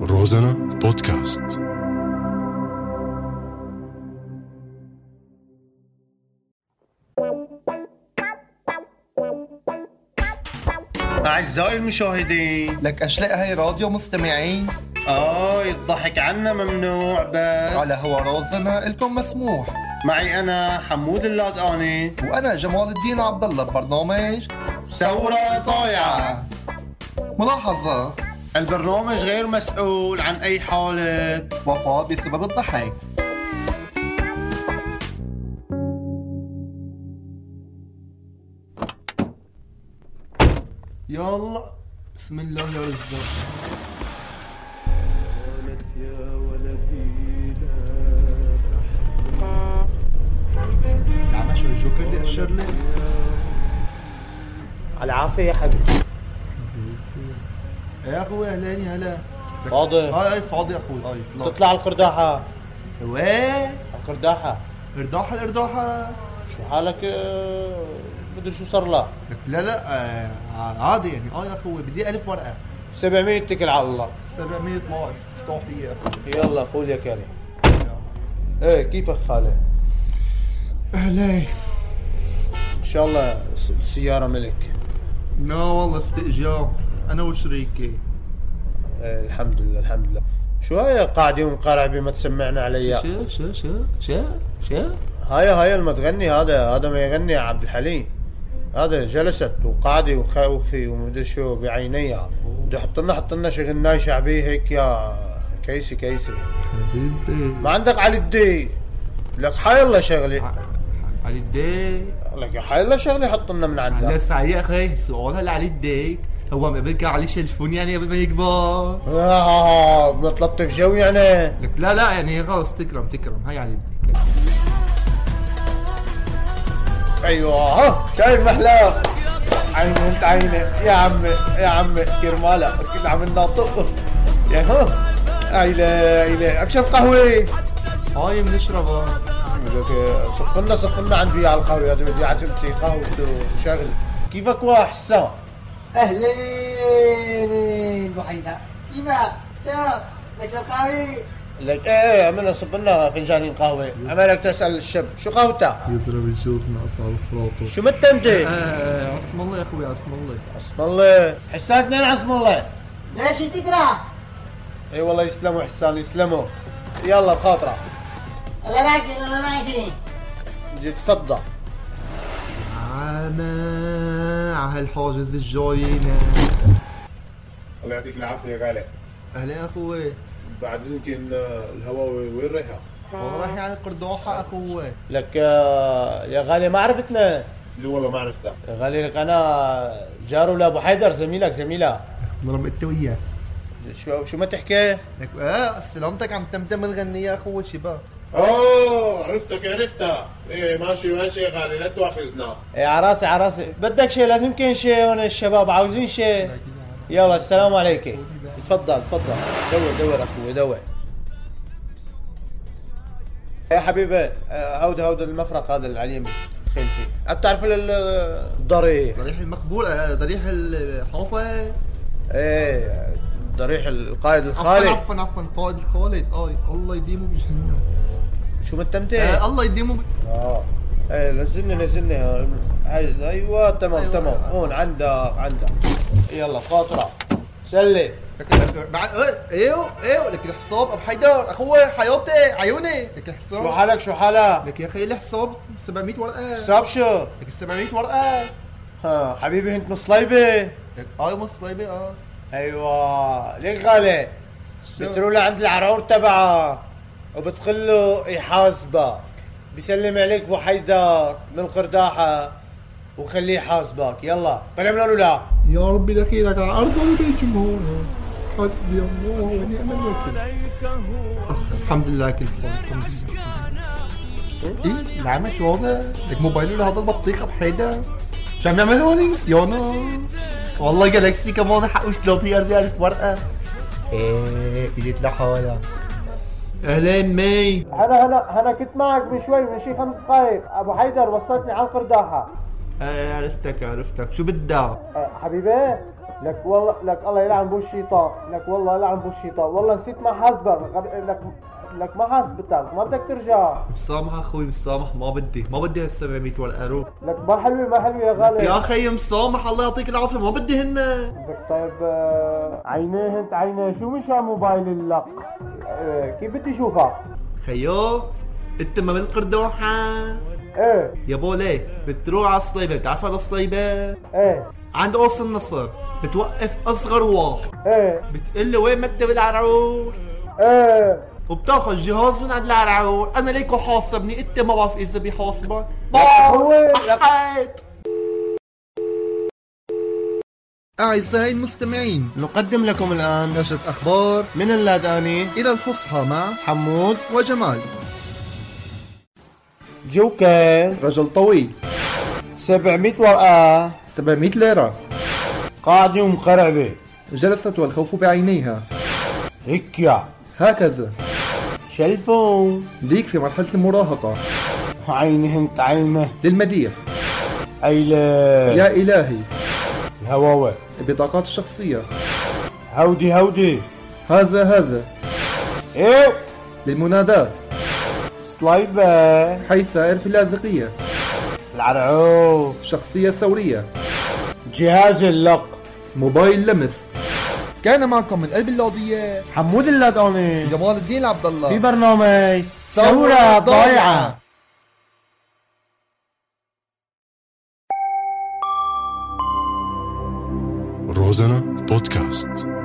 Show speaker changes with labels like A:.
A: روزانا بودكاست
B: أعزائي المشاهدين
C: لك أشلاء هاي راديو مستمعين
B: آه الضحك عنا ممنوع بس
D: آه،
C: على هو رازنا إلكم مسموح
B: معي أنا حمود اللادقاني
C: وأنا جمال الدين عبد الله ببرنامج
B: ثورة طايعة
C: آه. ملاحظة
B: البرنامج غير مسؤول عن أي حالة
C: وفاة بسبب الضحك يلا بسم الله يا رزاق العمى شو الجوكر اللي أشر لي
D: على العافية يا حبيبي
C: يا اخوي اهلين هلا
D: فاضي
C: هاي هاي فاضي اخوي هاي طلع
D: تطلع على القرداحة
C: وين
D: على القرداحة
C: ارداحة ارداحة
D: شو حالك آه، مدري شو صار لها
C: لك لا لا آه عادي يعني اه يا اخوي بدي ألف ورقة
D: 700 اتكل على الله
C: 700 طلع افتحي يا اخوي
D: يلا قول يا كريم ايه كيفك خالد
C: اهلين
D: ان شاء الله س- السيارة ملك
C: لا والله استئجار انا وشريكي
D: إيه الحمد لله الحمد لله شو هاي قاعد يوم قارع بما تسمعنا عليا
C: شو شو شو شو شو
D: هاي هاي المتغني هذا هذا ما يغني عبد الحليم هذا جلست وقاعدة وخوفي ومدري شو بعينيها بده يحط لنا حط لنا شغلناي شعبية هيك يا كيسي كيسي
C: حبيبي
D: ما عندك علي الدي لك حي الله شغلي
C: علي الديك
D: لك يا حي الله شغلي حط لنا من عندها
C: هلا يا اخي سؤال هلا علي الديك هو ما بكى عليه شلفون يعني قبل ما يكبر
D: آه بنتلطف جو يعني
C: لك لا لا يعني خلص تكرم تكرم هاي على يدك
D: ايوه ها شايف محلاة عيني انت عيني يا عمي يا عمي كرمالة كنا عم نناطق يا ها عيلة عيلة اكشن قهوة
C: هاي بنشربها
D: لك سخنا سخنا عندي على القهوة هذا بدي عزمتي قهوة وشغل كيفك واحسن
E: اهلين وحيدا كيفك؟ شو؟ لك شو القهوة؟
D: لك ايه عملنا صب لنا فنجانين قهوة عمالك تسأل الشب شو قهوتك
C: يضرب الجوز مع صار فراطه
D: شو مت انت؟
C: آه عصم الله يا اخوي عصم الله
D: عصم الله حسان اثنين عصم الله
E: ليش تقرا؟
D: اي والله يسلموا حسان يسلموا يلا بخاطرك
E: الله معك الله معك
D: تفضل
C: عما على هالحاجز الجاينا
F: الله يعطيك العافيه يا غالي
C: اهلا يا اخوي
F: بعد يمكن آه، الهواء وين رايحه؟
C: والله رايح على القردوحه اخوي
D: لك آه، يا غالي ما عرفتنا
F: اللي والله ما عرفتها
D: يا غالي لك انا جاره لابو حيدر زميلك زميله
C: نرم انت وياه
D: شو شو ما تحكي؟
C: لك اه سلامتك عم تمتم الغنية يا اخوي شباب
F: اوه آه، عرفتك عرفتها ايه ماشي ماشي يا غالي لا تواخذنا
D: ايه عراسي عراسي بدك شيء لازم يمكن شيء هون الشباب عاوزين شيء يلا السلام عليك تفضل تفضل دور دور اخوي دور يا حبيبي آه، هود هود المفرق هذا اللي على اليمين تخيل فيه عم تعرف ال- ال- الضريح
C: ضريح المقبول آه، ضريح الحوفة
D: ايه ضريح القائد
C: عفوا
D: الخالد
C: عفوا عفوا قائد الخالد اه الله يديمه بجهنم
D: شو متمتع؟
C: آه، الله يديمه ب-
D: اه ايه نزلني نزلني هون. عايز- ايوه تمام
C: أيوة.
D: تمام هون عندك عندك يلا خاطرة سلم
C: لك لك- بعد إيه، ايوه ايوه لك الحصاب ابو حيدر اخوي حياتي عيوني لك
D: شو
C: الحصاب
D: حالك شو حالك؟
C: لك يا اخي الحصاب 700 ورقه
D: صاب شو؟
C: لك 700 ورقه
D: ها حبيبي انت مصليبه
C: لك اي مصليبه اه
D: ايوه ليك غالي
C: شو؟
D: بتروح لعند العرعور تبعها وبتقول له يحاسبك بيسلم عليك ابو حيدر من القرداحه وخليه يحاسبك يلا طلع من هون ولا
C: يا ربي دخيلك على ارض بيت جمهورها حسبي الله ونعم الوكيل أخ، الحمد لله كل شيء الحمد لله ايه العمى شو هذا؟ لك موبايله هذا البطيخه بحيده شو عم يعمل هون نسيانه والله جالكسي كمان حقه 30000 ورقه ايه اجيت لحالها اهلين مي
D: هلا هلا هلا كنت معك من شوي من شي خمس دقايق ابو حيدر وصلتني على القرداحه
C: إيه، آه عرفتك عرفتك شو بدك؟
D: أه، حبيبي لك والله لك الله يلعن بو الشيطان لك والله يلعن بو الشيطان والله نسيت ما حاسبك غب- لك لك ما حاسبتك ما بدك ترجع
C: مسامح اخوي مسامح ما بدي ما بدي هال 700 ورقه روح
D: لك ما حلوه ما حلوه يا غالي
C: يا اخي مسامح الله يعطيك العافيه ما بدي هن
D: لك طيب آه، عينيه انت عينيه شو مش على موبايل اللق آه، كيف بدي اشوفك
C: خيو انت ما بالقردوحه
D: ايه
C: يا بولي بتروح على الصليبه بتعرف على الصليبه
D: ايه
C: عند قوس النصر بتوقف اصغر واحد
D: ايه
C: بتقول له وين مكتب العرعور
D: ايه
C: وبتاخذ جهاز من عند العرعور انا ليكو حاصبني انت ما بعرف اذا بيحاصبك
D: هو-
C: بحيت أعزائي المستمعين
D: نقدم لكم الآن
C: نشرة أخبار
D: من اللاداني
C: إلى الفصحى مع
D: حمود
C: وجمال
D: جوكر
C: رجل طويل
D: 700 ورقة
C: 700 ليرة
D: قاعدة ومخرعبة
C: جلست والخوف بعينيها
D: هيك يا
C: هكذا
D: شلفون
C: ليك في مرحلة المراهقة
D: عينهن عينه
C: للمديح
D: أيلا
C: يا إلهي
D: الهواوة
C: بطاقات الشخصية
D: هودي هودي
C: هذا هذا
D: ايه
C: للمناداة
D: صليبة
C: حي سائر في اللاذقية
D: العرعوف
C: شخصية ثورية
D: جهاز اللق
C: موبايل لمس كان معكم من قلب اللوضية
D: حمود اللاداني
C: جمال الدين عبد الله
D: في برنامج ثورة ضايعة
A: Розена подкаст.